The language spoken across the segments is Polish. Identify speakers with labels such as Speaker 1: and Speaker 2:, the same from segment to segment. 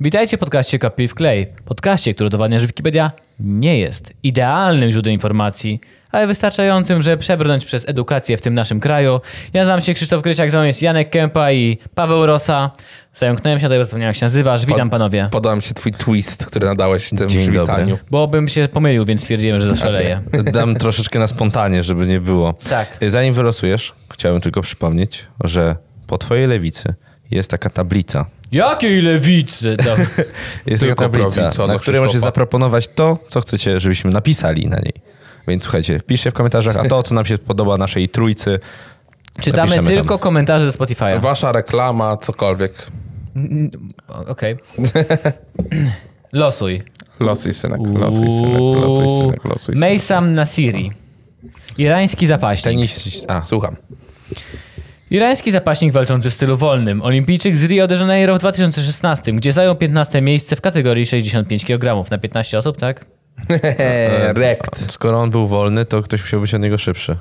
Speaker 1: Witajcie w podcaście Kopiuj w klej. Podcaście, który udowadnia, że Wikipedia nie jest idealnym źródłem informacji, ale wystarczającym, że przebrnąć przez edukację w tym naszym kraju. Ja nazywam się Krzysztof Krysiak, ze mną jest Janek Kępa i Paweł Rosa. Zająknąłem się, dlatego zapomniałem jak się nazywasz. Witam panowie.
Speaker 2: Podałem się twój twist, który nadałeś w tym
Speaker 3: Dzień
Speaker 2: przywitaniu.
Speaker 1: Bo bym się pomylił, więc stwierdziłem, że zaszaleję.
Speaker 3: Tak. Dam troszeczkę na spontanie, żeby nie było.
Speaker 1: Tak.
Speaker 3: Zanim wylosujesz, chciałem tylko przypomnieć, że po twojej lewicy jest taka tablica.
Speaker 1: Jakiej lewicy? Dobra.
Speaker 3: Jest
Speaker 2: Tylko
Speaker 3: taka tablica,
Speaker 2: prawica
Speaker 3: na
Speaker 2: do
Speaker 3: której możecie
Speaker 2: Krzysztofa.
Speaker 3: zaproponować to, co chcecie, żebyśmy napisali na niej. Więc słuchajcie, piszcie w komentarzach, a to, co nam się podoba naszej trójcy,
Speaker 1: Czytamy
Speaker 3: Napiszemy tam.
Speaker 1: tylko komentarze ze Spotify'a.
Speaker 2: Wasza reklama, cokolwiek.
Speaker 1: O- Okej. Losuj.
Speaker 2: Losuj synek, losuj synek, losuj synek, losuj synek.
Speaker 1: Mejsam Nasiri. Irański zapaśnik.
Speaker 3: tenis... A,
Speaker 2: Słucham.
Speaker 1: Irański zapaśnik walczący w stylu wolnym, olimpijczyk z Rio de Janeiro w 2016, gdzie zajął 15 miejsce w kategorii 65 kg na 15 osób, tak?
Speaker 2: Hehe, rekt.
Speaker 3: skoro on był wolny, to ktoś musiał być od niego szybszy.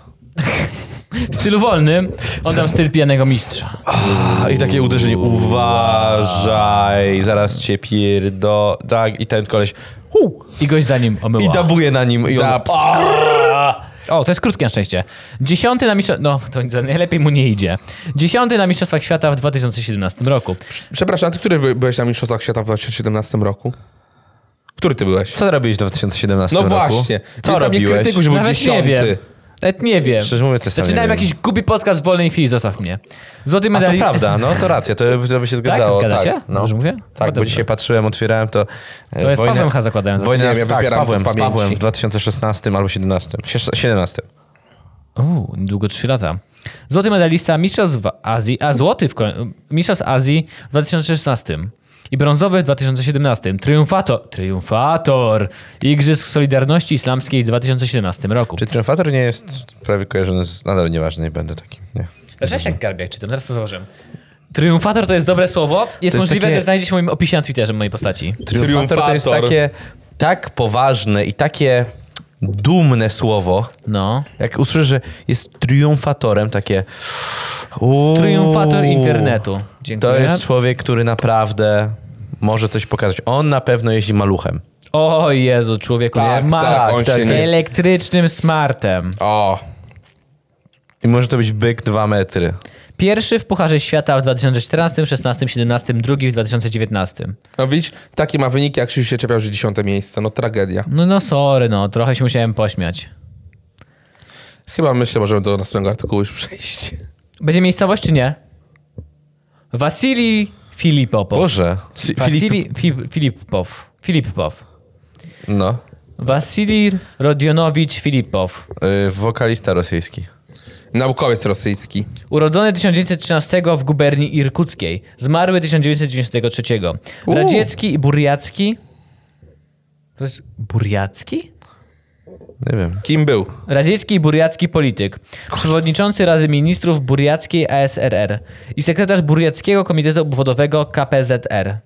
Speaker 1: W stylu wolnym oddam styl pijanego mistrza.
Speaker 3: A, I takie uderzenie, uważaj, zaraz cię pierdo... Tak, i ten koleś... Hu,
Speaker 1: I gość za nim
Speaker 3: I
Speaker 1: omyła.
Speaker 3: dabuje na nim i on...
Speaker 2: Dab-
Speaker 1: O, to jest krótkie na szczęście. Dziesiąty na mistrzostwach... No, to za- najlepiej mu nie idzie. Dziesiąty na mistrzostwach świata w 2017 roku.
Speaker 2: Przepraszam, ty który by- byłeś na Mistrzostwach Świata w 2017 roku? Który ty byłeś?
Speaker 3: Co robiłeś w 2017
Speaker 2: No
Speaker 3: roku?
Speaker 2: właśnie.
Speaker 3: Co
Speaker 2: Więc na mnie
Speaker 3: robiłeś?
Speaker 2: krytykuj, że był
Speaker 1: Nawet nie wiem.
Speaker 2: dziesiąty.
Speaker 1: Nawet nie wiem.
Speaker 3: Szczerze mówiąc, ja sam nie
Speaker 1: Zaczynałem
Speaker 3: wiem.
Speaker 1: jakiś głupi podcast w wolnej chwili, zostaw mnie. Złoty
Speaker 3: A to
Speaker 1: medalik...
Speaker 3: prawda, no to racja, to, to by się zgadzało.
Speaker 1: zgadza
Speaker 3: tak,
Speaker 1: się?
Speaker 3: No.
Speaker 1: Dobrze mówię? No
Speaker 3: Tak, bo
Speaker 1: dobrze.
Speaker 3: dzisiaj patrzyłem, otwierałem to. e,
Speaker 1: To jest Pawłem H. zakładałem.
Speaker 3: Wojna
Speaker 2: Nie
Speaker 3: nie,
Speaker 2: wiem, ja
Speaker 3: tak, z
Speaker 2: wybieram to
Speaker 3: Pawłem,
Speaker 2: z
Speaker 3: z
Speaker 2: pamięci.
Speaker 3: Pawłem w 2016 albo 17. Siesz- 17.
Speaker 1: Uuu, niedługo 3 lata. Złoty medalista Mistrzostw w Azji, a złoty w koń- Mistrzostw Azji w 2016 i brązowy w 2017. Triumfator, triumfator Igrzysk Solidarności Islamskiej w 2017 roku.
Speaker 3: Czy Triumfator nie jest prawie kojarzony z... Nadal nieważny, nie będę takim. Nie.
Speaker 1: Cześć jak garbiak czytam, teraz to zauważyłem. Triumfator to jest dobre słowo. Jest
Speaker 3: To jest
Speaker 1: możliwe,
Speaker 3: takie-
Speaker 1: że znajdziesz w moim opisie na Twitterze mojej postaci.
Speaker 3: Triumfator to jest
Speaker 2: Triumfator.
Speaker 3: takie tak poważne i takie dumne słowo.
Speaker 1: No.
Speaker 3: Jak usłyszę, że jest triumfatorem, takie... uuu.
Speaker 1: Triumfator internetu. Dziękuję.
Speaker 3: To jest człowiek, który naprawdę może coś pokazać. On na pewno jeździ maluchem.
Speaker 1: O Jezu, człowieku,
Speaker 2: Tak,
Speaker 1: smart.
Speaker 2: tak, on
Speaker 3: tak,
Speaker 2: się
Speaker 3: tak.
Speaker 2: nie...
Speaker 1: Elektrycznym smartem.
Speaker 2: O,
Speaker 3: I może to być byk 2 metry.
Speaker 1: Pierwszy w Pucharze Świata w 2014, 16, 17, drugi w 2019.
Speaker 2: no widzisz, takie ma wyniki, jak Krzysiu się czepiał, że dziesiąte miejsce. No tragedia.
Speaker 1: No no sorry, no trochę się musiałem pośmiać.
Speaker 2: Chyba myślę, możemy do następnego artykułu już przejść.
Speaker 1: Będzie miejscowość czy nie? Wasili Filipopow.
Speaker 3: Boże.
Speaker 1: Wasili Fi- Filipow. Filipow.
Speaker 3: No.
Speaker 1: Wasili Rodionowicz Filipow.
Speaker 3: Y, wokalista rosyjski.
Speaker 2: Naukowiec rosyjski.
Speaker 1: Urodzony 1913 w guberni irkuckiej. Zmarły 1993. Radziecki i burjacki. To jest burjacki?
Speaker 3: Nie wiem.
Speaker 2: Kim był?
Speaker 1: Radziecki i burjacki polityk, przewodniczący Rady Ministrów Burjackiej ASRR i sekretarz Burjackiego Komitetu Obwodowego KPZR.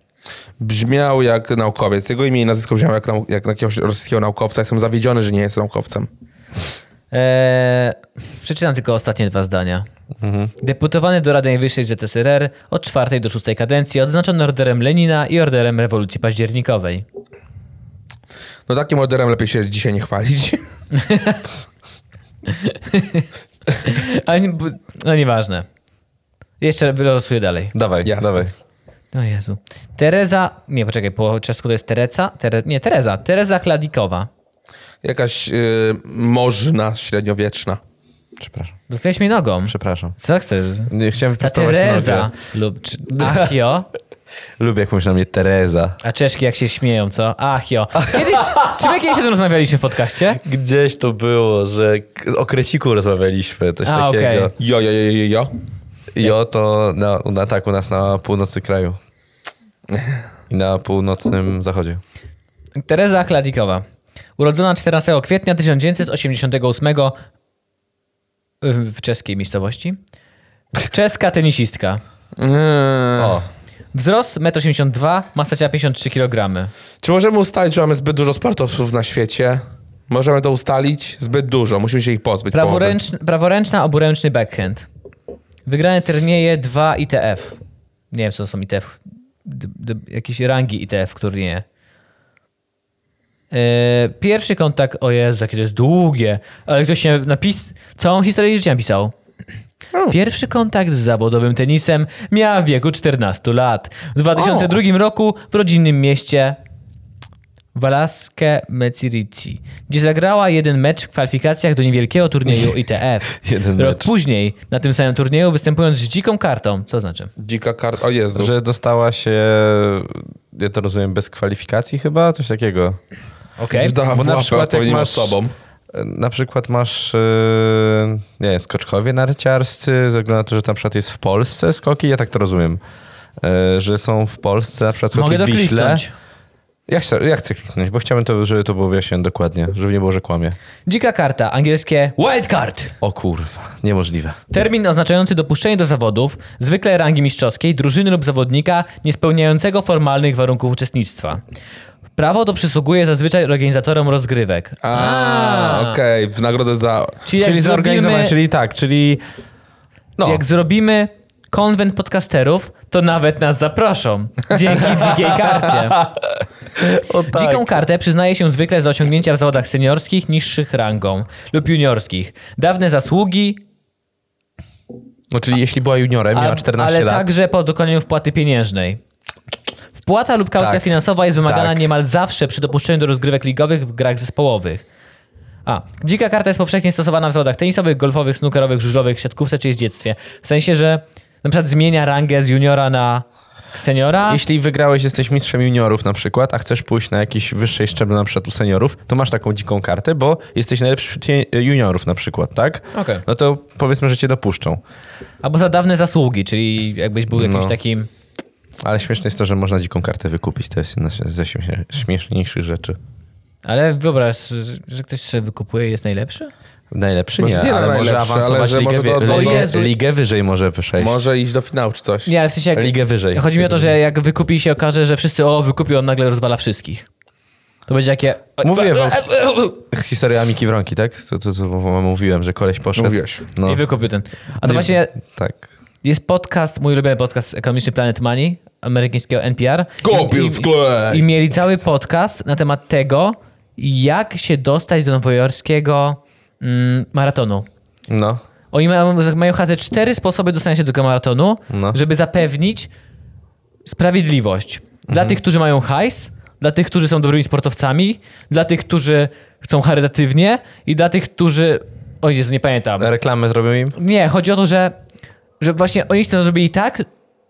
Speaker 2: Brzmiał jak naukowiec. Jego imię i nazwisko brzmiało jak, nau- jak jakiegoś rosyjskiego naukowca. Jestem zawiedziony, że nie jest naukowcem.
Speaker 1: Eee, przeczytam tylko ostatnie dwa zdania. Deputowany do Rady Najwyższej ZSRR od czwartej do szóstej kadencji, odznaczony orderem Lenina i orderem rewolucji październikowej.
Speaker 2: No takim orderem lepiej się dzisiaj nie chwalić.
Speaker 1: A nie, bu- no nieważne. Jeszcze wylosuję dalej.
Speaker 3: Dawaj,
Speaker 2: Jasne.
Speaker 3: dawaj.
Speaker 1: O Jezu. Tereza, nie poczekaj, po czesku to jest Tereca, Tere, nie Tereza, Tereza Chladikowa.
Speaker 2: Jakaś y, można średniowieczna.
Speaker 3: Przepraszam.
Speaker 1: Dotknęłeś mnie nogą.
Speaker 3: Przepraszam.
Speaker 1: Co chcesz?
Speaker 3: Nie, chciałem
Speaker 1: Ta
Speaker 3: wyprostować
Speaker 1: Tereza
Speaker 3: nogę.
Speaker 1: lub czy- Achio,
Speaker 3: Lubię jak mówisz na mnie Tereza.
Speaker 1: a Czeszki jak się śmieją, co? Achio. Kiedy, czy, czy my kiedyś o tym rozmawialiśmy w podcaście?
Speaker 3: Gdzieś to było, że k- o kreciku rozmawialiśmy, coś
Speaker 1: A,
Speaker 3: takiego.
Speaker 1: okej.
Speaker 2: Jo, jo, jo, jo, jo.
Speaker 3: I o to na, na, tak u nas na północy kraju. I na północnym zachodzie.
Speaker 1: Tereza Chladikowa. Urodzona 14 kwietnia 1988 w czeskiej miejscowości. Czeska tenisistka.
Speaker 2: Yy.
Speaker 3: O,
Speaker 1: Wzrost 1,82 m, masa ciała 53 kg.
Speaker 2: Czy możemy ustalić, że mamy zbyt dużo sportowców na świecie? Możemy to ustalić? Zbyt dużo. Musimy się ich pozbyć. połowy.
Speaker 1: Praworęczna, praworęczna, oburęczny backhand. Wygrane turnieje 2 ITF. Nie wiem, co to są ITF. d, d, jakiejś rangi ITF w turnieju. E, Pierwszy kontakt, o Jezu, jakie to jest długie, ale ktoś się napis... całą historię życia napisał. Pierwszy kontakt z zawodowym tenisem miała w wieku 14 lat. W 2002 roku w rodzinnym mieście Walaskę Mecirici, gdzie zagrała jeden mecz w kwalifikacjach do niewielkiego turnieju ITF.
Speaker 3: Jeden
Speaker 1: Rok
Speaker 3: mecz.
Speaker 1: później na tym samym turnieju występując z dziką kartą, co znaczy?
Speaker 2: Dzika karta. O Jezu.
Speaker 3: Że dostała się, ja to rozumiem, bez kwalifikacji chyba? Coś takiego.
Speaker 1: Okej.
Speaker 2: Że dała
Speaker 3: Bo
Speaker 2: w
Speaker 3: na
Speaker 2: łapę
Speaker 3: przykład jak
Speaker 2: odpowiednim
Speaker 3: masz-
Speaker 2: osobom.
Speaker 3: Na przykład masz, yy, nie wiem, skoczkowie narciarscy, ze względu na to, że na przykład jest w Polsce skoki, ja tak to rozumiem, yy, że są w Polsce na przykład skoki
Speaker 1: Mogę to
Speaker 3: w Wiśle.
Speaker 1: kliknąć.
Speaker 3: Ja chcę, ja chcę kliknąć, bo chciałbym, to, żeby to było wyjaśnione dokładnie, żeby nie było, że kłamie.
Speaker 1: Dzika karta, angielskie wildcard.
Speaker 3: O kurwa, niemożliwe.
Speaker 1: Termin oznaczający dopuszczenie do zawodów, zwykle rangi mistrzowskiej, drużyny lub zawodnika niespełniającego formalnych warunków uczestnictwa. Prawo to przysługuje zazwyczaj organizatorom rozgrywek.
Speaker 2: A, okej, w nagrodę za...
Speaker 1: Czyli, jak
Speaker 3: czyli zorganizowane,
Speaker 1: zrobimy,
Speaker 3: czyli tak, czyli... No,
Speaker 1: jak zrobimy konwent podcasterów, to nawet nas zaproszą. Dzięki dzikiej karcie.
Speaker 3: o tak.
Speaker 1: Dziką kartę przyznaje się zwykle za osiągnięcia w zawodach seniorskich niższych rangą lub juniorskich. Dawne zasługi,
Speaker 3: No, czyli jeśli była juniorem, miała
Speaker 1: a-
Speaker 3: 14
Speaker 1: ale tak-
Speaker 3: lat.
Speaker 1: także po dokonaniu wpłaty pieniężnej. Wpłata lub kaucja
Speaker 3: Tak.
Speaker 1: finansowa jest wymagana
Speaker 3: Tak.
Speaker 1: niemal zawsze przy dopuszczeniu do rozgrywek ligowych w grach zespołowych. A. Dzika karta jest powszechnie stosowana w zawodach tenisowych, golfowych, snookerowych, żużlowych, siatkówce czy jeździectwie. W sensie, że na przykład zmienia rangę z juniora na seniora.
Speaker 3: Jeśli wygrałeś, jesteś mistrzem juniorów na przykład, a chcesz pójść na jakiś wyższej szczebel, na przykład u seniorów, to masz taką dziką kartę, bo jesteś najlepszy wśród je- juniorów na przykład, tak?
Speaker 1: Okej.
Speaker 3: No to powiedzmy, że cię dopuszczą.
Speaker 1: Albo za dawne zasługi, czyli jakbyś był jakimś
Speaker 3: No.
Speaker 1: takim...
Speaker 3: Ale śmieszne jest to, że można dziką kartę wykupić. To jest jedna z- ze śmie- śmieszniejszych rzeczy.
Speaker 1: Ale wyobraź, że ktoś sobie wykupuje i jest najlepszy?
Speaker 3: Najlepszy
Speaker 2: Może
Speaker 3: nie,
Speaker 2: nie
Speaker 3: ale może
Speaker 2: najlepszy,
Speaker 3: awansować
Speaker 2: ale że
Speaker 3: ligę,
Speaker 2: może
Speaker 3: wy-
Speaker 2: do- do-
Speaker 1: do-
Speaker 3: ligę, ligę wyżej może przejść.
Speaker 2: Może iść do finału czy coś.
Speaker 1: Nie, ale w sensie jak...
Speaker 3: Ligę wyżej.
Speaker 1: Chodzi mi o to, że jak wykupi i się okaże, że wszyscy o, wykupił, on nagle rozwala wszystkich. To będzie jakie... No.
Speaker 3: Mówię wam. Historia Miki Wronki, tak? To, to, to mówiłem, że koleś poszedł.
Speaker 2: Mówiłeś.
Speaker 3: No.
Speaker 1: I wykupił ten. A to
Speaker 3: Nie-
Speaker 1: właśnie
Speaker 3: Tak.
Speaker 1: jest podcast, mój ulubiony podcast ekonomiczny Planet Money, amerykańskiego NPR.
Speaker 2: Kopił
Speaker 1: I-
Speaker 2: w klej.
Speaker 1: I mieli cały podcast na temat tego, jak się dostać do nowojorskiego mm, maratonu.
Speaker 3: No.
Speaker 1: Oni mają, mają chyba ze cztery sposoby dostania się do tego maratonu,
Speaker 3: No.
Speaker 1: żeby zapewnić sprawiedliwość. Dla
Speaker 3: Mhm.
Speaker 1: tych, którzy mają hajs, dla tych, którzy są dobrymi sportowcami, dla tych, którzy chcą charytatywnie i dla tych, którzy... O Jezu, nie pamiętam.
Speaker 3: Reklamę zrobił im?
Speaker 1: Nie, chodzi o to, że, że właśnie oni to zrobili tak,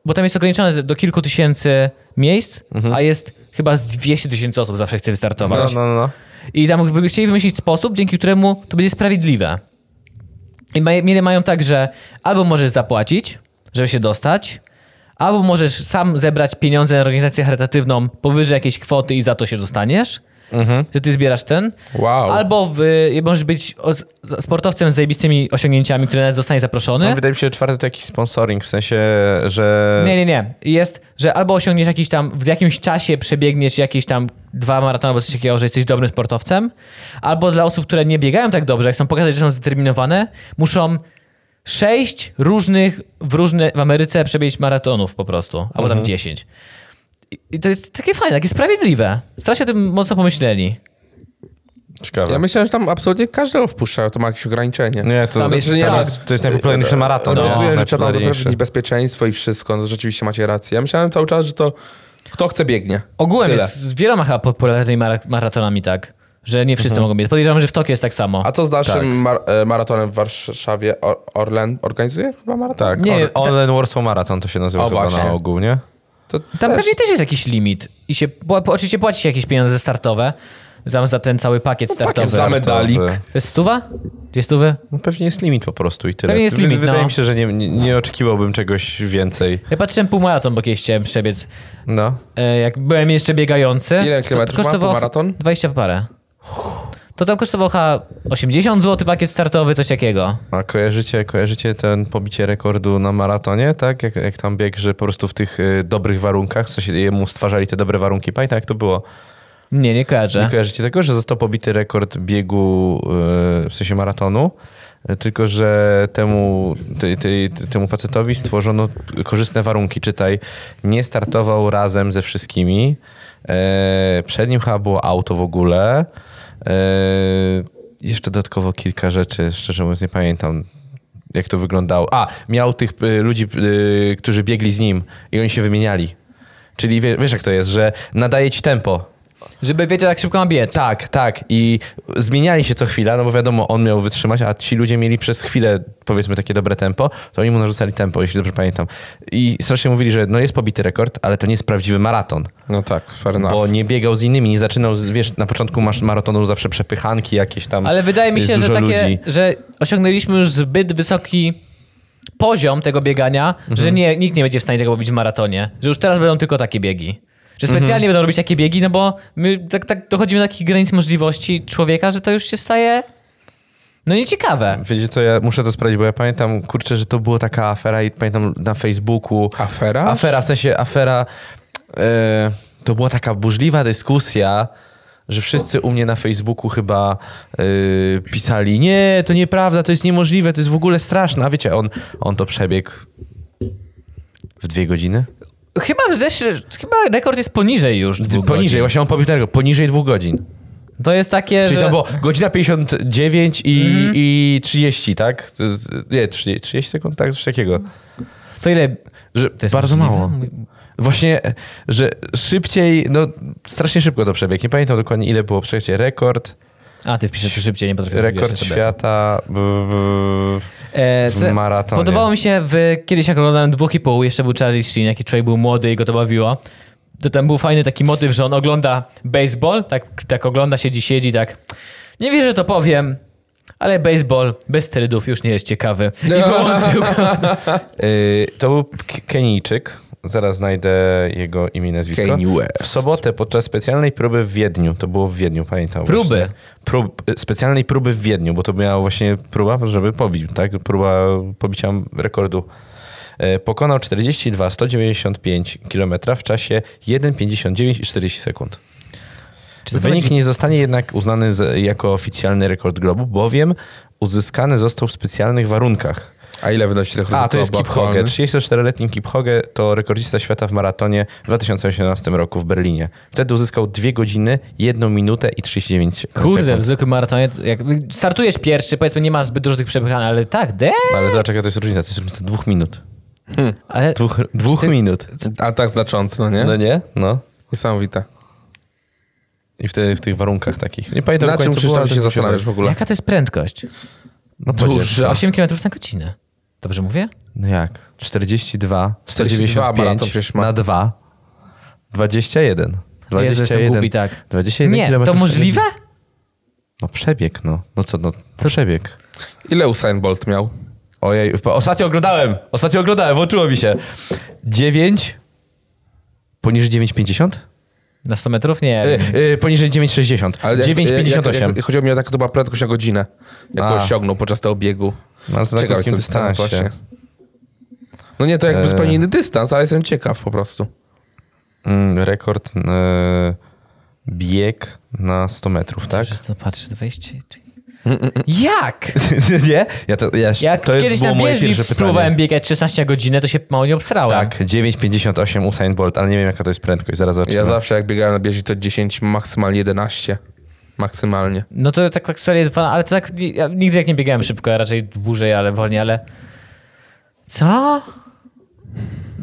Speaker 1: bo tam jest ograniczone do kilku tysięcy miejsc, a jest chyba z 200 tysięcy osób zawsze chce
Speaker 3: Mhm. No,
Speaker 1: wystartować.
Speaker 3: no, no.
Speaker 1: I tam wy- chcieli wymyślić sposób, dzięki któremu to będzie sprawiedliwe. I ma, mieli mają tak, że albo możesz zapłacić, żeby się dostać, albo możesz sam zebrać pieniądze na organizację charytatywną powyżej jakiejś kwoty i za to się dostaniesz. Że ty zbierasz ten.
Speaker 2: Wow.
Speaker 1: Albo w, y, możesz być o, z- sportowcem z zajebistymi osiągnięciami, który nawet zostanie zaproszony.
Speaker 3: No, wydaje mi się, że czwarty to jakiś sponsoring, w sensie, że...
Speaker 1: Nie, nie, nie. Jest, że albo osiągniesz jakiś tam, w jakimś czasie przebiegniesz jakieś tam dwa maratony albo coś takiego, że jesteś dobrym sportowcem, albo dla osób, które nie biegają tak dobrze, jak chcą pokazać, że są zdeterminowane, muszą sześć różnych w, różne, w Ameryce przebiegć maratonów po prostu, albo tam dziesięć. I- I to jest takie fajne, takie sprawiedliwe. Strasznie o tym mocno pomyśleli.
Speaker 3: Ciekawe.
Speaker 2: Ja myślę, że tam absolutnie każdego wpuszczają, to ma jakieś ograniczenie. Znaczy,
Speaker 3: nie, to,
Speaker 1: Tam
Speaker 3: tam
Speaker 1: jest-
Speaker 3: jest,
Speaker 1: tak.
Speaker 3: to jest najpopularniejszy maraton.
Speaker 2: No,
Speaker 3: nie? Znaczy,
Speaker 2: Rozumiem, że trzeba tam
Speaker 3: Najpopularniejszy.
Speaker 2: zapewnić bezpieczeństwo i wszystko, no rzeczywiście macie rację. Ja myślałem cały czas, że to kto chce biegnie.
Speaker 1: Ogółem
Speaker 2: Tyle.
Speaker 1: jest z wieloma chyba popularnymi mara- maratonami tak, że nie wszyscy mogą biec. Podejrzewam, że w Tokio jest tak samo.
Speaker 2: A co z naszym mar- e, maratonem w Warszawie? Or- Orlen organizuje chyba maraton?
Speaker 3: Tak,
Speaker 1: Nie,
Speaker 3: nie,
Speaker 1: ta-
Speaker 3: on, Online Warsaw Marathon to się nazywa
Speaker 2: O,
Speaker 3: chyba
Speaker 2: właśnie.
Speaker 3: na ogół, nie?
Speaker 2: To
Speaker 1: Tam
Speaker 2: też-
Speaker 1: pewnie też jest jakiś limit. I się, bo, bo oczywiście płaci się jakieś pieniądze startowe. Tam za ten cały pakiet startowy.
Speaker 2: No, pakiet za med- medalik.
Speaker 1: To jest stuwa? Dwie stówy?
Speaker 3: No, Tak, pewnie jest limit po prostu i tyle.
Speaker 1: Pewnie jest
Speaker 3: Wy-
Speaker 1: limit,
Speaker 3: Wydaje
Speaker 1: no.
Speaker 3: mi się, że nie, nie, nie oczekiwałbym czegoś więcej.
Speaker 1: Ja patrzyłem półmaraton, bo kiedyś chciałem przebiec.
Speaker 3: No.
Speaker 1: E, jak byłem jeszcze biegający.
Speaker 2: Ile
Speaker 1: to
Speaker 2: kilometrów ma
Speaker 1: kosztowało
Speaker 2: półmaraton?
Speaker 1: 20 parę. To tam kosztowało chyba 80 zł pakiet startowy, coś takiego.
Speaker 3: A kojarzycie, kojarzycie ten pobicie rekordu na maratonie, tak? Jak, jak tam bieg, że po prostu w tych y, dobrych warunkach, co się jemu stwarzali te dobre warunki. Pamiętam, jak to było?
Speaker 1: Nie, nie
Speaker 3: Nie
Speaker 1: kojarzę.
Speaker 3: kojarzycie tego, że został pobity rekord biegu, y, w sensie e, maratonu, tylko że temu, ty, ty, temu facetowi stworzono korzystne warunki. Czytaj, nie startował razem ze wszystkimi. E, Przed nim chyba było auto w ogóle. E, Jeszcze dodatkowo kilka rzeczy, szczerze mówiąc nie pamiętam jak to wyglądało. A, miał tych y, ludzi, y, którzy biegli z nim i oni się wymieniali. Czyli wie, wiesz jak to jest, że nadaje ci tempo.
Speaker 1: Żeby wiedział, jak szybko ma biec.
Speaker 3: Tak, tak. I zmieniali się co chwila, no bo wiadomo, on miał wytrzymać, a ci ludzie mieli przez chwilę, powiedzmy, takie dobre tempo, to oni mu narzucali tempo, jeśli dobrze pamiętam. I strasznie mówili, że no jest pobity rekord, ale to nie jest prawdziwy maraton.
Speaker 2: No tak, fair enough.
Speaker 3: Bo nie biegał z innymi, nie zaczynał, z- wiesz, na początku masz maratonu zawsze przepychanki jakieś tam.
Speaker 1: Ale wydaje mi
Speaker 3: jest
Speaker 1: się, że
Speaker 3: dużo
Speaker 1: takie,
Speaker 3: ludzi.
Speaker 1: że osiągnęliśmy już zbyt wysoki poziom tego biegania,
Speaker 3: Mhm.
Speaker 1: że nie, nikt nie będzie w stanie tego robić w maratonie. Że już teraz będą tylko takie biegi. Że
Speaker 3: Mhm.
Speaker 1: specjalnie będą robić takie biegi, no bo my tak, tak dochodzimy do takich granic możliwości człowieka, że to już się staje no nieciekawe.
Speaker 3: Wiecie co, ja muszę to sprawdzić, bo ja pamiętam, kurczę, że to była taka afera i pamiętam na Facebooku.
Speaker 2: Afera?
Speaker 3: Afera, w sensie afera, e, to była taka burzliwa dyskusja, że wszyscy u mnie na Facebooku chyba e, pisali, nie, to nieprawda, to jest niemożliwe, to jest w ogóle straszne. A wiecie, on, on to przebiegł w dwie godziny?
Speaker 1: Chyba, ześ- chyba rekord jest poniżej już dwóch
Speaker 3: poniżej,
Speaker 1: godzin.
Speaker 3: właśnie on pobił ten rekord, poniżej dwóch godzin.
Speaker 1: To jest takie,
Speaker 3: Czyli
Speaker 1: że... Mhm.
Speaker 3: to było godzina 59 i, i 30, tak? To jest- Nie, 30, 30 sekund, tak? Coś takiego.
Speaker 1: To ile...
Speaker 3: Że
Speaker 1: jest
Speaker 3: bardzo
Speaker 1: możliwe?
Speaker 3: mało. Właśnie, e, że szybciej, no strasznie szybko to przebiegł. Nie pamiętam dokładnie ile było przejście. Rekord,
Speaker 1: A, ty wpiszesz tu szybciej, nie potrafię
Speaker 3: rekord
Speaker 1: sobie.
Speaker 3: świata. b- b-
Speaker 1: E,
Speaker 3: w maratonie.
Speaker 1: Podobało mi się, w, kiedyś jak oglądałem dwóch i pół, jeszcze był Charlie Sheen, jaki człowiek był młody i go to bawiło, to tam był fajny taki motyw, że on ogląda baseball, tak, tak ogląda, siedzi, siedzi, tak, nie wierzę, to powiem, ale baseball bez sterydów już nie jest ciekawy. I
Speaker 3: No.
Speaker 1: wyłączył go.
Speaker 3: Y, To był K- Kenijczyk. Zaraz znajdę jego imię i nazwisko.
Speaker 2: Kanye West.
Speaker 3: W sobotę podczas specjalnej próby w Wiedniu, to było w Wiedniu, pamiętam.
Speaker 1: Próby?
Speaker 3: właśnie. Prób, specjalnej próby w Wiedniu, bo to była właśnie próba, żeby pobić, tak? Próba pobicia rekordu. Y, Pokonał 42 195 km w czasie 1,59 i 40 sekund.
Speaker 1: Czy to
Speaker 3: Wynik
Speaker 1: będzie-
Speaker 3: nie zostanie jednak uznany z, jako oficjalny rekord globu, bowiem uzyskany został w specjalnych warunkach.
Speaker 2: A ile wynosi dochód
Speaker 3: A, to jest
Speaker 2: klubu
Speaker 3: Kipchoge.
Speaker 2: aktualny?
Speaker 3: 34-letni Kipchoge to rekordzista świata w maratonie w 2018 roku w Berlinie. Wtedy uzyskał 2 godziny, 1 minutę i 39
Speaker 1: Kurde, w
Speaker 3: sekund.
Speaker 1: zwykłym maratonie, to jak startujesz pierwszy, powiedzmy nie masz zbyt dużo tych przepychań, ale tak, de,
Speaker 3: Ale zobacz, jaka to jest różnica. To jest różnica dwóch minut.
Speaker 1: ale
Speaker 3: Dwóch, dwóch
Speaker 1: Czy ty-
Speaker 3: minut.
Speaker 2: A tak znaczący, no nie?
Speaker 3: No nie? No.
Speaker 2: Niesamowite.
Speaker 3: I w, te, w tych warunkach takich. Nie pamiętam,
Speaker 2: Na
Speaker 3: dokładnie,
Speaker 2: czym
Speaker 3: co było, ale
Speaker 2: Krzysztof
Speaker 3: to
Speaker 2: się
Speaker 3: musiało
Speaker 2: zastanawiasz
Speaker 3: być.
Speaker 2: w ogóle?
Speaker 1: jaka to jest prędkość?
Speaker 3: No
Speaker 2: Duża.
Speaker 3: dużo.
Speaker 1: 8 km na godzinę. Dobrze mówię?
Speaker 3: No jak? 42,
Speaker 2: 42 maraton przecież
Speaker 3: 195
Speaker 2: ma.
Speaker 3: na 2, 21.
Speaker 1: Jezu, jestem
Speaker 3: 21,
Speaker 1: głupi, tak.
Speaker 3: 21
Speaker 1: nie, to
Speaker 3: kilometrów na
Speaker 1: możliwe?
Speaker 3: godzinę. No przebieg, no. No co, no przebieg.
Speaker 2: Ile Usain Bolt miał?
Speaker 3: Ojej, po- ostatnio oglądałem, ostatnio oglądałem, włączyło mi się. 9, poniżej 9,50?
Speaker 1: Na 100 metrów? Nie.
Speaker 3: E, e, poniżej 9,60.
Speaker 2: Ale jak- jak-
Speaker 3: 9,58.
Speaker 2: jak- Chodziło mi o tak, to była prędkość na godzinę, jak
Speaker 3: A.
Speaker 2: go osiągnął podczas tego biegu.
Speaker 3: No, ale to na
Speaker 2: Ciekaw
Speaker 3: krótkim
Speaker 2: jestem teraz
Speaker 3: dystansie.
Speaker 2: właśnie. No nie, to jakby
Speaker 3: E.
Speaker 2: zupełnie inny dystans, ale jestem ciekaw po prostu.
Speaker 3: Mm, rekord e, bieg na 100 metrów, tak?
Speaker 1: Tak? Przez to patrzysz 20. Jak?
Speaker 3: Nie? Ja to, ja,
Speaker 1: Jak
Speaker 3: to
Speaker 1: kiedyś
Speaker 3: było
Speaker 1: na
Speaker 3: moje
Speaker 1: bieżni
Speaker 3: pierwsze pytanie.
Speaker 1: próbowałem biegać 16 godzinę, to się mało nie obsrałem.
Speaker 3: Tak, 9,58 Usain Bolt, ale nie wiem jaka to jest prędkość, zaraz zobaczymy.
Speaker 2: Ja zawsze jak biegałem na bieżni to 10, maksymalnie 11. Maksymalnie.
Speaker 1: No to tak aktualnie dwa, ale to tak ni- ja nigdy jak nie biegałem szybko, ja raczej dłużej, ale wolniej, ale... Co?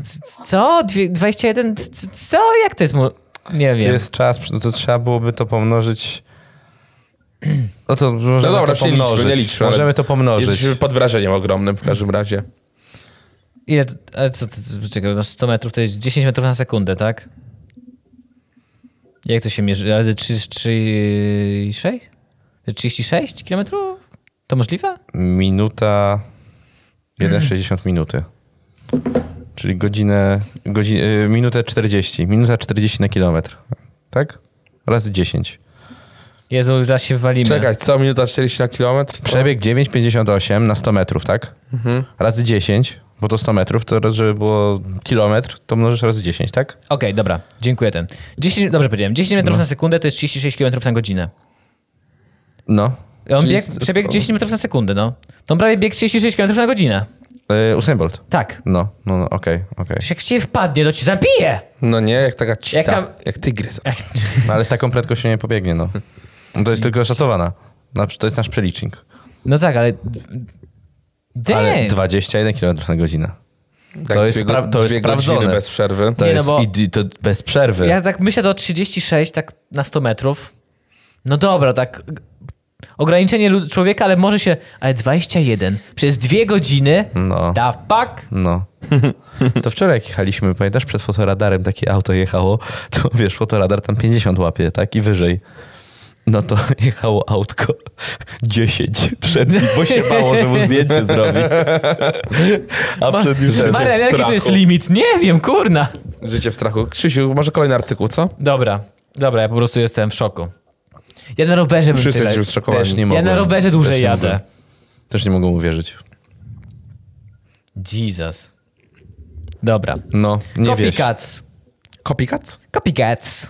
Speaker 1: C- Co? Dwie- 21? C- c- Co? Jak to jest mu... Nie
Speaker 3: To
Speaker 1: wiem.
Speaker 3: jest czas, no to trzeba byłoby to pomnożyć... No to możemy
Speaker 2: No dobra,
Speaker 3: to
Speaker 2: już nie
Speaker 3: pomnożyć.
Speaker 2: liczmy, nie liczmy. ale
Speaker 3: możemy to pomnożyć.
Speaker 2: Jesteśmy pod wrażeniem ogromnym w każdym razie.
Speaker 1: Ile... to- Ale co? To, to, czekaj, masz 100 metrów to jest 10 metrów na sekundę, tak? Jak to się mierzy? Razy 3, 3, 6? 36 kilometrów? To możliwe?
Speaker 3: minuta 1,60 minuty. Czyli godzinę, godzi, y, minutę 40. Minuta 40 na kilometr. Tak? Razy 10.
Speaker 1: Jezu, zaraz się walimy.
Speaker 2: Czekaj, co minuta 40 na kilometr? Co?
Speaker 3: Przebieg 9,58 na 100 metrów, tak? Razy 10, bo to 100 metrów, to raz, żeby było kilometr, to mnożysz razy 10, tak?
Speaker 1: Okej, dobra, dziękuję ten. 10, dobrze powiedziałem, 10 metrów na sekundę to jest 36 km na godzinę.
Speaker 3: No.
Speaker 1: I On
Speaker 2: Czyli
Speaker 1: bieg,
Speaker 2: z- z-
Speaker 1: przebiegł 10 metrów na sekundę, no. To prawie bieg 36 km na godzinę.
Speaker 3: E, Usain Bolt.
Speaker 1: Tak.
Speaker 3: No, no, no, okej, okej.
Speaker 1: Przecież Jak cię wpadnie, to ci zabije!
Speaker 2: No nie, jak taka cita,
Speaker 1: Jak
Speaker 2: jak,
Speaker 1: tam-
Speaker 2: tygrys.
Speaker 1: Ech,
Speaker 3: No, ale z taką prędkością nie pobiegnie, no. To jest tylko szacowana. Na- To jest nasz przelicznik.
Speaker 1: No tak, ale... Damn!
Speaker 3: Ale 21 km na godzinę.
Speaker 2: Tak
Speaker 3: jest
Speaker 2: dwie-
Speaker 3: spra- to jest
Speaker 2: dwie
Speaker 3: sprawdzone.
Speaker 2: godziny bez przerwy.
Speaker 3: To
Speaker 1: Nie, no
Speaker 3: jest
Speaker 1: bo-
Speaker 3: i, i to bez przerwy.
Speaker 1: Ja tak myślę do 36, tak na 100 metrów. No dobra, tak. g- Ograniczenie lud- człowieka, ale może się. Ale 21 przez dwie godziny.
Speaker 3: No.
Speaker 1: Da fuck.
Speaker 3: No. To wczoraj jak jechaliśmy, pamiętasz, przed fotoradarem takie auto jechało, to wiesz, fotoradar tam 50 łapie, tak? I wyżej. No to jechało autko 10 przed nim, bo się bało, że mu zdjęcie zrobi. A przed nim
Speaker 2: Życie
Speaker 1: Marian,
Speaker 2: w
Speaker 1: jaki to
Speaker 2: strachu.
Speaker 1: jest limit? Nie wiem, kurna.
Speaker 2: Życie w strachu. Krzysiu, może kolejny artykuł, co?
Speaker 1: Dobra, dobra, ja po prostu jestem w szoku. Ja na rowerze bym
Speaker 2: Wszyscy
Speaker 1: tyle.
Speaker 2: jesteśmy zszokowani.
Speaker 3: Też nie
Speaker 1: Ja
Speaker 3: mogłem.
Speaker 1: na rowerze
Speaker 3: Też
Speaker 1: dłużej
Speaker 3: nie
Speaker 1: jadę.
Speaker 3: mogłem. Też nie mogą uwierzyć.
Speaker 1: Jesus. Dobra.
Speaker 3: No, nie wiesz.
Speaker 1: Copycats.
Speaker 2: Copycat?
Speaker 1: Copycats.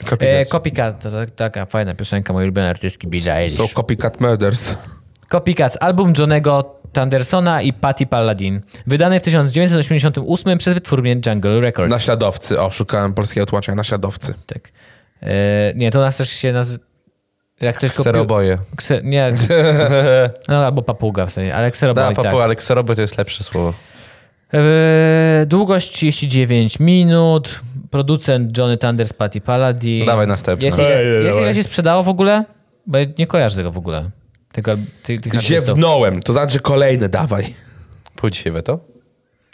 Speaker 1: E,
Speaker 3: Copycat.
Speaker 1: copycat to tak- taka fajna piosenka mojej ulubionej artystki Billie Eilish.
Speaker 2: Są Copycat Murders.
Speaker 1: Copycats, album Johnego Tandersona i Patty Paladin, wydany w 1988 przez wytwórnię Jungle Records.
Speaker 2: Naśladowcy. O, szukałem polskiego tłumaczenia. Naśladowcy.
Speaker 1: Tak. E, nie, to nas też się naz... Jak ktoś kopiu-
Speaker 3: Kseroboje.
Speaker 1: Kse... Nie. No albo papuga w sensie, ale kseroboj,
Speaker 3: Da,
Speaker 1: tak.
Speaker 3: papu, ale kseroboje to jest lepsze słowo.
Speaker 1: E, długość 39 minut, producent Johnny Thunders, Patty Paladin.
Speaker 3: No dawaj następne.
Speaker 1: Jest ile,
Speaker 2: Ej,
Speaker 1: jest ile
Speaker 2: dawaj.
Speaker 1: się sprzedało w ogóle? Bo ja nie kojarzę tego w ogóle. Tego, tych, tych artystów.
Speaker 2: Ziewnąłem. To znaczy kolejny dawaj.
Speaker 3: Pójdź się we to?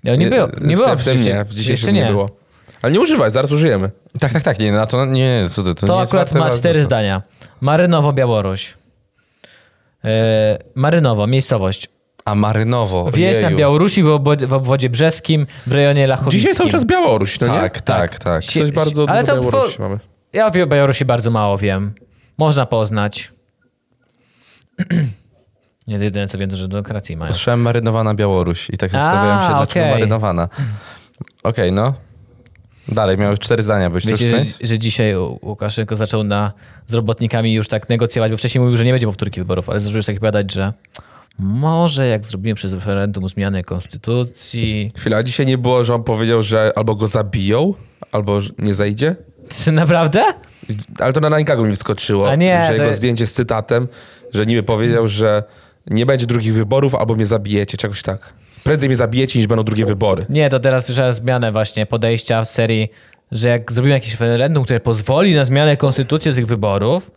Speaker 1: Ja nie, było, nie
Speaker 2: w,
Speaker 1: było
Speaker 2: tym- w tym
Speaker 1: oczywiście.
Speaker 2: nie. W
Speaker 1: Jeszcze
Speaker 2: dzisiejszym nie. było. Ale nie używaj, zaraz użyjemy.
Speaker 3: Tak, tak, tak. Nie, na to nie, nie, co ty, to
Speaker 1: To
Speaker 3: nie jest
Speaker 1: akurat
Speaker 3: warte
Speaker 1: ma
Speaker 3: walki.
Speaker 1: cztery zdania. Marynowo Białoruś. E, Marynowo, miejscowość.
Speaker 3: A Marynowo.
Speaker 1: Wieś na
Speaker 3: ojeju.
Speaker 1: Białorusi w, obwo- w obwodzie brzeskim w rejonie Lachowickim.
Speaker 2: Dzisiaj cały czas Białoruś, no nie?
Speaker 3: Tak, tak, tak.
Speaker 1: Sie-
Speaker 2: Coś bardzo
Speaker 1: ale
Speaker 2: dużo
Speaker 1: to po-
Speaker 2: Białorusi mamy.
Speaker 1: Ja o Bio- Białorusi bardzo mało wiem. Można poznać. Nie jedyne co wiem, to że demokracji mają.
Speaker 3: Słyszałem marynowana Białoruś i tak zastanawiałem się, dlaczego
Speaker 1: okej.
Speaker 3: marynowana. Okej, no. Dalej, miałeś cztery zdania, byś
Speaker 1: Wiecie,
Speaker 3: coś
Speaker 1: że,
Speaker 3: część?
Speaker 1: że dzisiaj U- Łukaszenko zaczął na, z robotnikami już tak negocjować, bo wcześniej mówił, że nie będzie powtórki wyborów, ale zaczął już tak badać, że może jak zrobimy przez referendum zmianę konstytucji,
Speaker 2: Chwila, a dzisiaj nie było, że on powiedział, że albo go zabiją, albo że nie zejdzie?
Speaker 1: Czy naprawdę?
Speaker 2: Ale to na Nańkagu mi wskoczyło,
Speaker 1: A nie,
Speaker 2: że
Speaker 1: to
Speaker 2: jego
Speaker 1: jest-
Speaker 2: zdjęcie z cytatem, że niby powiedział, że nie będzie drugich wyborów, albo mnie zabijecie, czegoś tak. Prędzej mnie zabijecie, niż będą drugie wybory.
Speaker 1: Nie, to teraz słyszałem zmianę właśnie podejścia w serii, że jak zrobimy jakieś referendum, które pozwoli na zmianę konstytucji do tych wyborów,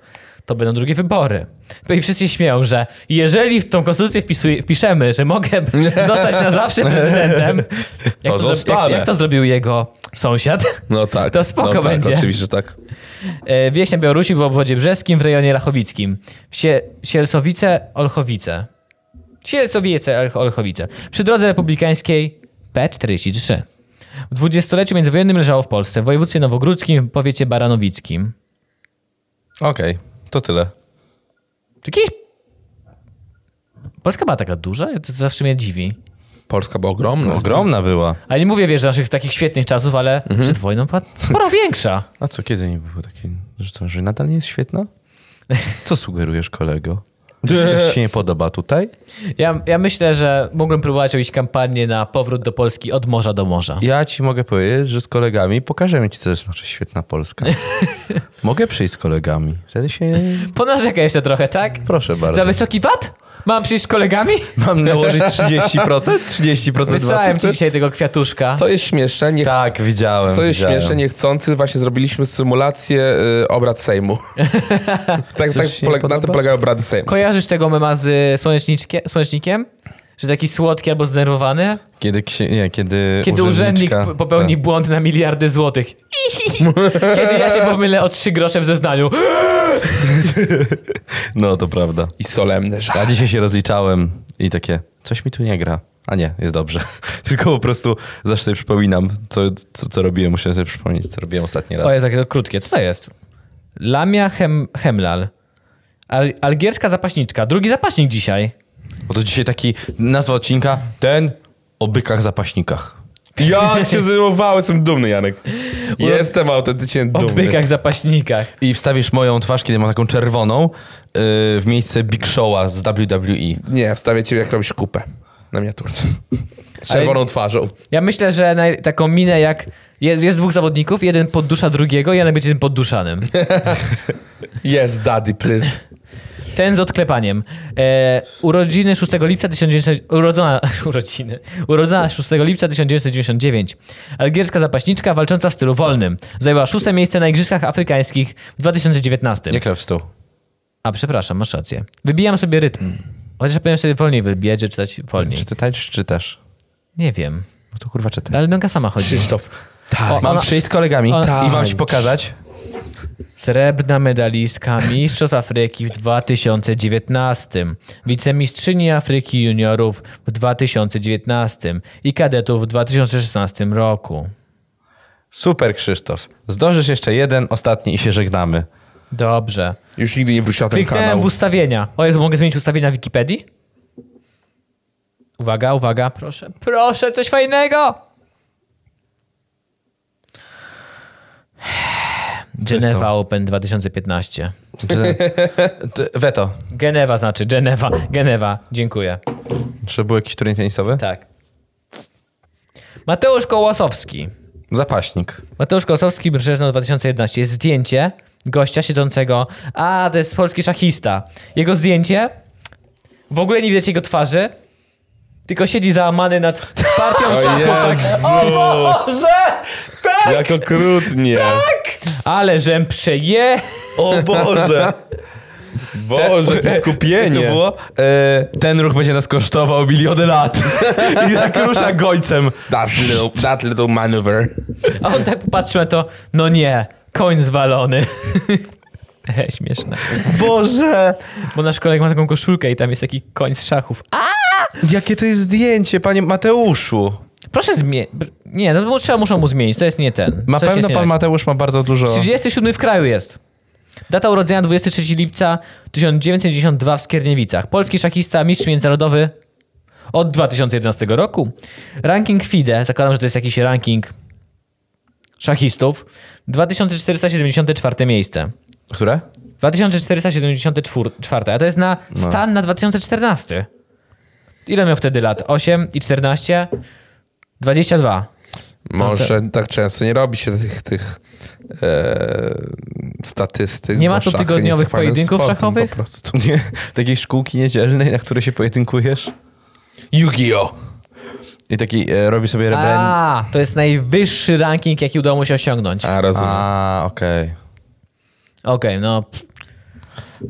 Speaker 1: to będą drugie wybory. Bo I wszyscy się śmieją, że jeżeli w tą konstytucję wpisuje, wpiszemy, że mogę zostać na zawsze prezydentem, jak
Speaker 2: To
Speaker 1: zro- jak,
Speaker 2: zostanę.
Speaker 1: jak to zrobił jego sąsiad,
Speaker 2: No tak.
Speaker 1: To spoko
Speaker 2: no, tak,
Speaker 1: będzie.
Speaker 2: Oczywiście, że tak.
Speaker 1: E, Wieś na Białorusi w obwodzie brzeskim w rejonie lachowickim. Sie Sielsowice, Olchowice. Sielsowice, Olch- Olchowice. Przy drodze republikańskiej P43. W dwudziestoleciu międzywojennym leżało w Polsce, w województwie nowogródzkim, w powiecie baranowickim.
Speaker 3: Okej, to tyle.
Speaker 1: Czy kiedyś... Polska była taka duża? To zawsze mnie dziwi.
Speaker 2: Polska była ogromna.
Speaker 3: No, Ogromna była.
Speaker 1: A nie mówię, wiesz, naszych takich świetnych czasów, ale przed wojną była sporo większa.
Speaker 3: A co, kiedy nie było takiej, że co, że nadal nie jest świetna? Co sugerujesz, kolego? Coś się nie podoba tutaj?
Speaker 1: Ja, ja myślę, że mógłbym próbować robić kampanię na powrót do Polski od morza do morza.
Speaker 3: Ja ci mogę powiedzieć, że z kolegami pokażemy ci, co to znaczy świetna Polska. Mogę przyjść z kolegami. Wtedy się...
Speaker 1: Ponarzekaj jeszcze trochę, tak?
Speaker 3: Proszę bardzo.
Speaker 1: Za wysoki VAT? Mam przyjść z kolegami?
Speaker 3: Mam nałożyć 30%? 30%
Speaker 1: Wysłałem ci
Speaker 3: złotówce?
Speaker 1: dzisiaj tego kwiatuszka.
Speaker 2: Co jest śmieszne, nie
Speaker 3: Tak, widziałem.
Speaker 2: Co jest
Speaker 3: widziałem.
Speaker 2: śmieszne, niechcący, właśnie zrobiliśmy symulację y, obrad Sejmu. tak, tak
Speaker 3: się nie
Speaker 2: polega, na
Speaker 3: podoba?
Speaker 2: tym polegają obrady Sejmu.
Speaker 1: Kojarzysz tego mema z y, słoneczniczkie- słonecznikiem? Że taki słodki albo zdenerwowany?
Speaker 3: Kiedy, ksi- nie, kiedy,
Speaker 1: Kiedy urzędnik
Speaker 3: urzędniczka- Tak.
Speaker 1: p- popełni błąd na miliardy złotych. Kiedy ja się pomylę o trzy grosze w zeznaniu.
Speaker 3: tak. No, to prawda.
Speaker 2: I solemny żal.
Speaker 3: Ja dzisiaj się rozliczałem i takie, coś mi tu nie gra. A nie, jest dobrze. Tylko po prostu zawsze sobie przypominam, co, co, co robiłem. Muszę sobie przypomnieć, co robiłem ostatni raz.
Speaker 1: O, jest takie krótkie. Co to jest? Lamia hem, Hemlal. Al, algierska zapaśniczka. Drugi zapaśnik dzisiaj.
Speaker 3: Bo to dzisiaj taki nazwa odcinka, ten o bykach zapaśnikach.
Speaker 2: Jak się zrymowało, jestem dumny, Janek. Jestem autentycznie
Speaker 1: O
Speaker 2: dumny.
Speaker 1: bykach zapaśnikach.
Speaker 3: I wstawisz moją twarz, kiedy mam taką czerwoną, yy, w miejsce Big Showa z E. WWE.
Speaker 2: Nie, wstawię cię jak robisz kupę na miniaturce. Z
Speaker 1: Ale-
Speaker 2: czerwoną twarzą.
Speaker 1: Ja myślę, że naj, taką minę jak... Jest, jest dwóch zawodników, jeden poddusza drugiego i jeden będzie tym podduszanym.
Speaker 2: Yes, daddy, please.
Speaker 1: Ten z odklepaniem. E, urodziny 6 lipca 1900, urodzona, urodziny, urodzona 6 lipca 1999. Algierska zapaśniczka walcząca w stylu wolnym. Zajęła szóste miejsce na Igrzyskach Afrykańskich w 2019.
Speaker 3: Nie krew w stół.
Speaker 1: A przepraszam, masz rację. Wybijam sobie rytm. Chociaż powinienem sobie wolniej wybijać, czy czytać wolniej.
Speaker 3: Czy ty tańczysz, czy też?
Speaker 1: Nie wiem.
Speaker 3: No to kurwa czytaj.
Speaker 1: Ale Nonka sama chodzi.
Speaker 2: Tak, Krzysztof.
Speaker 3: Tak.
Speaker 1: O,
Speaker 3: mam
Speaker 1: ona-
Speaker 3: przyjść z kolegami
Speaker 1: ona-
Speaker 3: i mam ci pokazać.
Speaker 1: Srebrna medalistka Mistrzostw Afryki w 2019, wicemistrzyni Afryki Juniorów w 2019 i kadetów w 2016 roku.
Speaker 3: Super, Krzysztof. Zdążysz jeszcze jeden, ostatni i się żegnamy.
Speaker 1: Dobrze.
Speaker 2: Już nigdy nie wróciła ten
Speaker 1: Kliknąłem
Speaker 2: kanał.
Speaker 1: w ustawienia. O Jezu, mogę zmienić ustawienia Wikipedii? Uwaga, uwaga, proszę. Proszę, coś fajnego! Genewa Open 2015.
Speaker 3: Czy- Ty- Weto.
Speaker 1: Genewa znaczy, Genewa, Genewa. Dziękuję.
Speaker 3: Czy był jakiś turniej tenisowy?
Speaker 1: Tak. Mateusz Kołosowski.
Speaker 3: Zapaśnik.
Speaker 1: Mateusz Kołosowski, Brzeżno 2011. Jest zdjęcie gościa siedzącego. A, to jest polski szachista. Jego zdjęcie. W ogóle nie widać jego twarzy. Tylko siedzi załamany nad partią szachów.
Speaker 2: O Boże! Tak! Jak okrutnie.
Speaker 1: Ale żem przeje.
Speaker 3: O Boże!
Speaker 2: Boże, jakie skupienie.
Speaker 3: To było, e, ten ruch będzie nas kosztował miliony lat. I tak rusza gońcem.
Speaker 2: That little, that little maneuver.
Speaker 1: A on tak popatrzył na to. No nie, koń zwalony. E, Śmieszne.
Speaker 3: Boże!
Speaker 1: Bo nasz kolega ma taką koszulkę i tam jest taki koń z szachów.
Speaker 3: Jakie to jest zdjęcie, panie Mateuszu.
Speaker 1: Proszę zmienić. Nie, no bo trzeba, muszą mu zmienić, to jest nie ten.
Speaker 3: Na
Speaker 1: Coś
Speaker 3: pewno
Speaker 1: jest nie
Speaker 3: pan
Speaker 1: tak.
Speaker 3: Mateusz ma bardzo dużo...
Speaker 1: 37 w kraju jest. Data urodzenia 23 lipca 1992 w Skierniewicach. Polski szachista, mistrz międzynarodowy od 2011 roku. Ranking FIDE, zakładam, że to jest jakiś ranking szachistów. 2474 miejsce.
Speaker 3: Które?
Speaker 1: 2474, a to jest na stan na 2014. Ile miał wtedy lat? 8 i 14? 22.
Speaker 2: Może tak często nie robi się tych, tych e, statystyk.
Speaker 1: Nie ma
Speaker 2: bo
Speaker 1: tu
Speaker 2: szachy nie
Speaker 1: tygodniowych
Speaker 2: są fajnym
Speaker 1: pojedynków
Speaker 2: sportem
Speaker 1: szachowych?
Speaker 2: Po prostu.
Speaker 3: Nie, takiej szkółki niedzielnej, na której się pojedynkujesz.
Speaker 2: Yu-Gi-Oh!
Speaker 3: I taki e, robi sobie rebrand.
Speaker 1: A, to jest najwyższy ranking, jaki udało mu się osiągnąć. Okej,
Speaker 2: A, rozumiem.
Speaker 3: A, okej.
Speaker 1: no.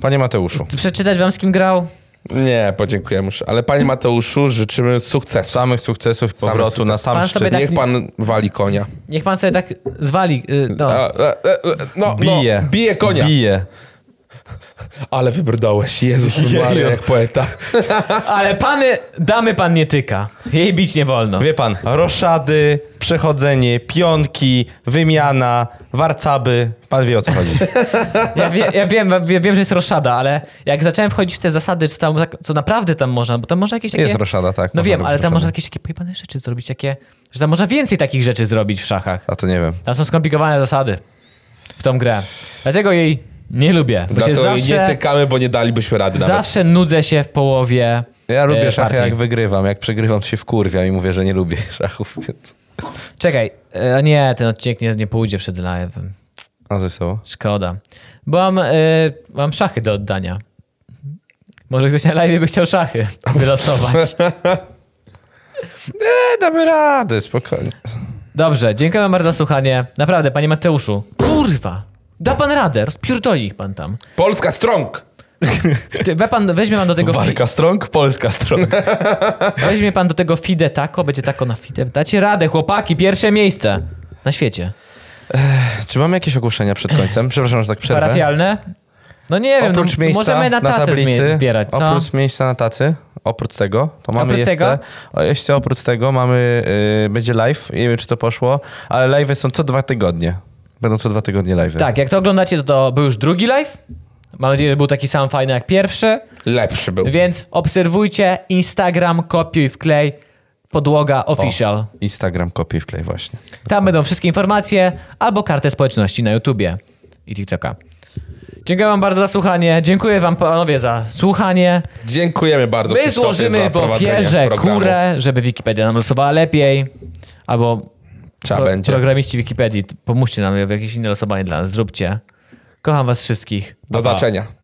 Speaker 3: Panie Mateuszu,
Speaker 1: Przeczytać wam, z kim grał?
Speaker 2: Nie, podziękuję już. Ale panie Mateuszu, życzymy sukcesu.
Speaker 3: samych sukcesów, powrotu
Speaker 2: sukcesów.
Speaker 3: na sam
Speaker 1: Pan
Speaker 3: szczyt.
Speaker 1: sobie tak-
Speaker 2: Niech pan wali konia.
Speaker 1: Niech pan sobie tak zwali. y, No.
Speaker 2: A, e, e, e, no,
Speaker 3: Bije.
Speaker 2: no, bije konia.
Speaker 3: Bije.
Speaker 2: Ale wybrdałeś, Jezus
Speaker 3: Jejo.
Speaker 2: Maria, jak poeta.
Speaker 1: Ale pany, damy pan nie tyka. Jej bić nie wolno.
Speaker 3: No. Wie pan, roszady, przechodzenie, pionki, wymiana, warcaby. Pan wie o co chodzi.
Speaker 1: Ja, wie, ja wiem, ja wiem, że jest roszada, ale jak zacząłem wchodzić w te zasady, co, tam, tak- co naprawdę tam można, bo tam można jakieś takie...
Speaker 3: Jest roszada, tak.
Speaker 1: No
Speaker 3: można
Speaker 1: wiem,
Speaker 3: robić
Speaker 1: ale tam
Speaker 3: roszady.
Speaker 1: można jakieś takie pojebane rzeczy zrobić, takie, że tam można więcej takich rzeczy zrobić w szachach.
Speaker 3: A to nie wiem.
Speaker 1: Tam są skomplikowane zasady w tą grę. Dlatego jej nie lubię, bo się
Speaker 2: Dlatego jej nie
Speaker 1: zawsze,
Speaker 2: tykamy, bo nie dalibyśmy rady nawet.
Speaker 1: zawsze nudzę się w połowie
Speaker 3: Ja lubię
Speaker 1: e,
Speaker 3: szachy,
Speaker 1: partii.
Speaker 3: jak wygrywam. Jak przegrywam, to się wkurwiam i mówię, że nie lubię szachów, więc...
Speaker 1: Czekaj, e, nie, ten odcinek nie, nie pójdzie przed live'em.
Speaker 3: A ze sobą?
Speaker 1: Szkoda. Bo mam, e, mam szachy do oddania. Może ktoś na live by chciał szachy wylosować.
Speaker 3: Nie, damy radę, spokojnie.
Speaker 1: Dobrze, dziękuję wam bardzo za słuchanie. Naprawdę, panie Mateuszu. Kurwa! Da pan radę, rozpierdoli ich pan tam.
Speaker 2: Polska strong!
Speaker 1: Ty, we pan, weźmie pan do tego fi,
Speaker 3: Warka strong, polska strong.
Speaker 1: weźmie pan do tego fide tako, będzie tako na fide. Dacie radę, chłopaki, pierwsze miejsce na świecie.
Speaker 3: Czy mamy jakieś ogłoszenia przed końcem? Przepraszam, że tak przerwę.
Speaker 1: Parafialne? No nie wiem,
Speaker 3: Oprócz
Speaker 1: no,
Speaker 3: miejsca
Speaker 1: możemy na tacę
Speaker 3: tablicy,
Speaker 1: zmie- zbierać, co?
Speaker 3: oprócz miejsca na tacy, oprócz tego, to mamy
Speaker 1: Oprócz
Speaker 3: jeszcze,
Speaker 1: tego?
Speaker 3: O, jeszcze oprócz tego mamy, yy, będzie live, nie wiem czy to poszło, ale live są co dwa tygodnie. Będą co dwa tygodnie live.
Speaker 1: Tak, jak to oglądacie, to, to był już drugi live. Mam nadzieję, że był taki sam fajny jak pierwszy.
Speaker 2: Lepszy był.
Speaker 1: Więc obserwujcie Instagram, kopiuj, wklej. podłoga official.
Speaker 3: Instagram kopiuj wklej właśnie.
Speaker 1: Tam będą wszystkie informacje albo kartę społeczności na YouTubie i TikToka. Dziękuję wam bardzo za słuchanie. Dziękuję wam panowie za słuchanie.
Speaker 2: Dziękujemy bardzo
Speaker 1: My
Speaker 2: Krzysztofie
Speaker 1: złożymy
Speaker 2: za
Speaker 1: w
Speaker 2: prowadzenie
Speaker 1: ofierze
Speaker 2: programu.
Speaker 1: kurę, żeby Wikipedia nam losowała lepiej. Albo
Speaker 2: Trzeba będzie.
Speaker 1: programiści Wikipedii, pomóżcie nam w jakieś inne losowanie dla nas, zróbcie. Kocham was wszystkich.
Speaker 2: Do
Speaker 1: Pa, pa.
Speaker 2: zobaczenia.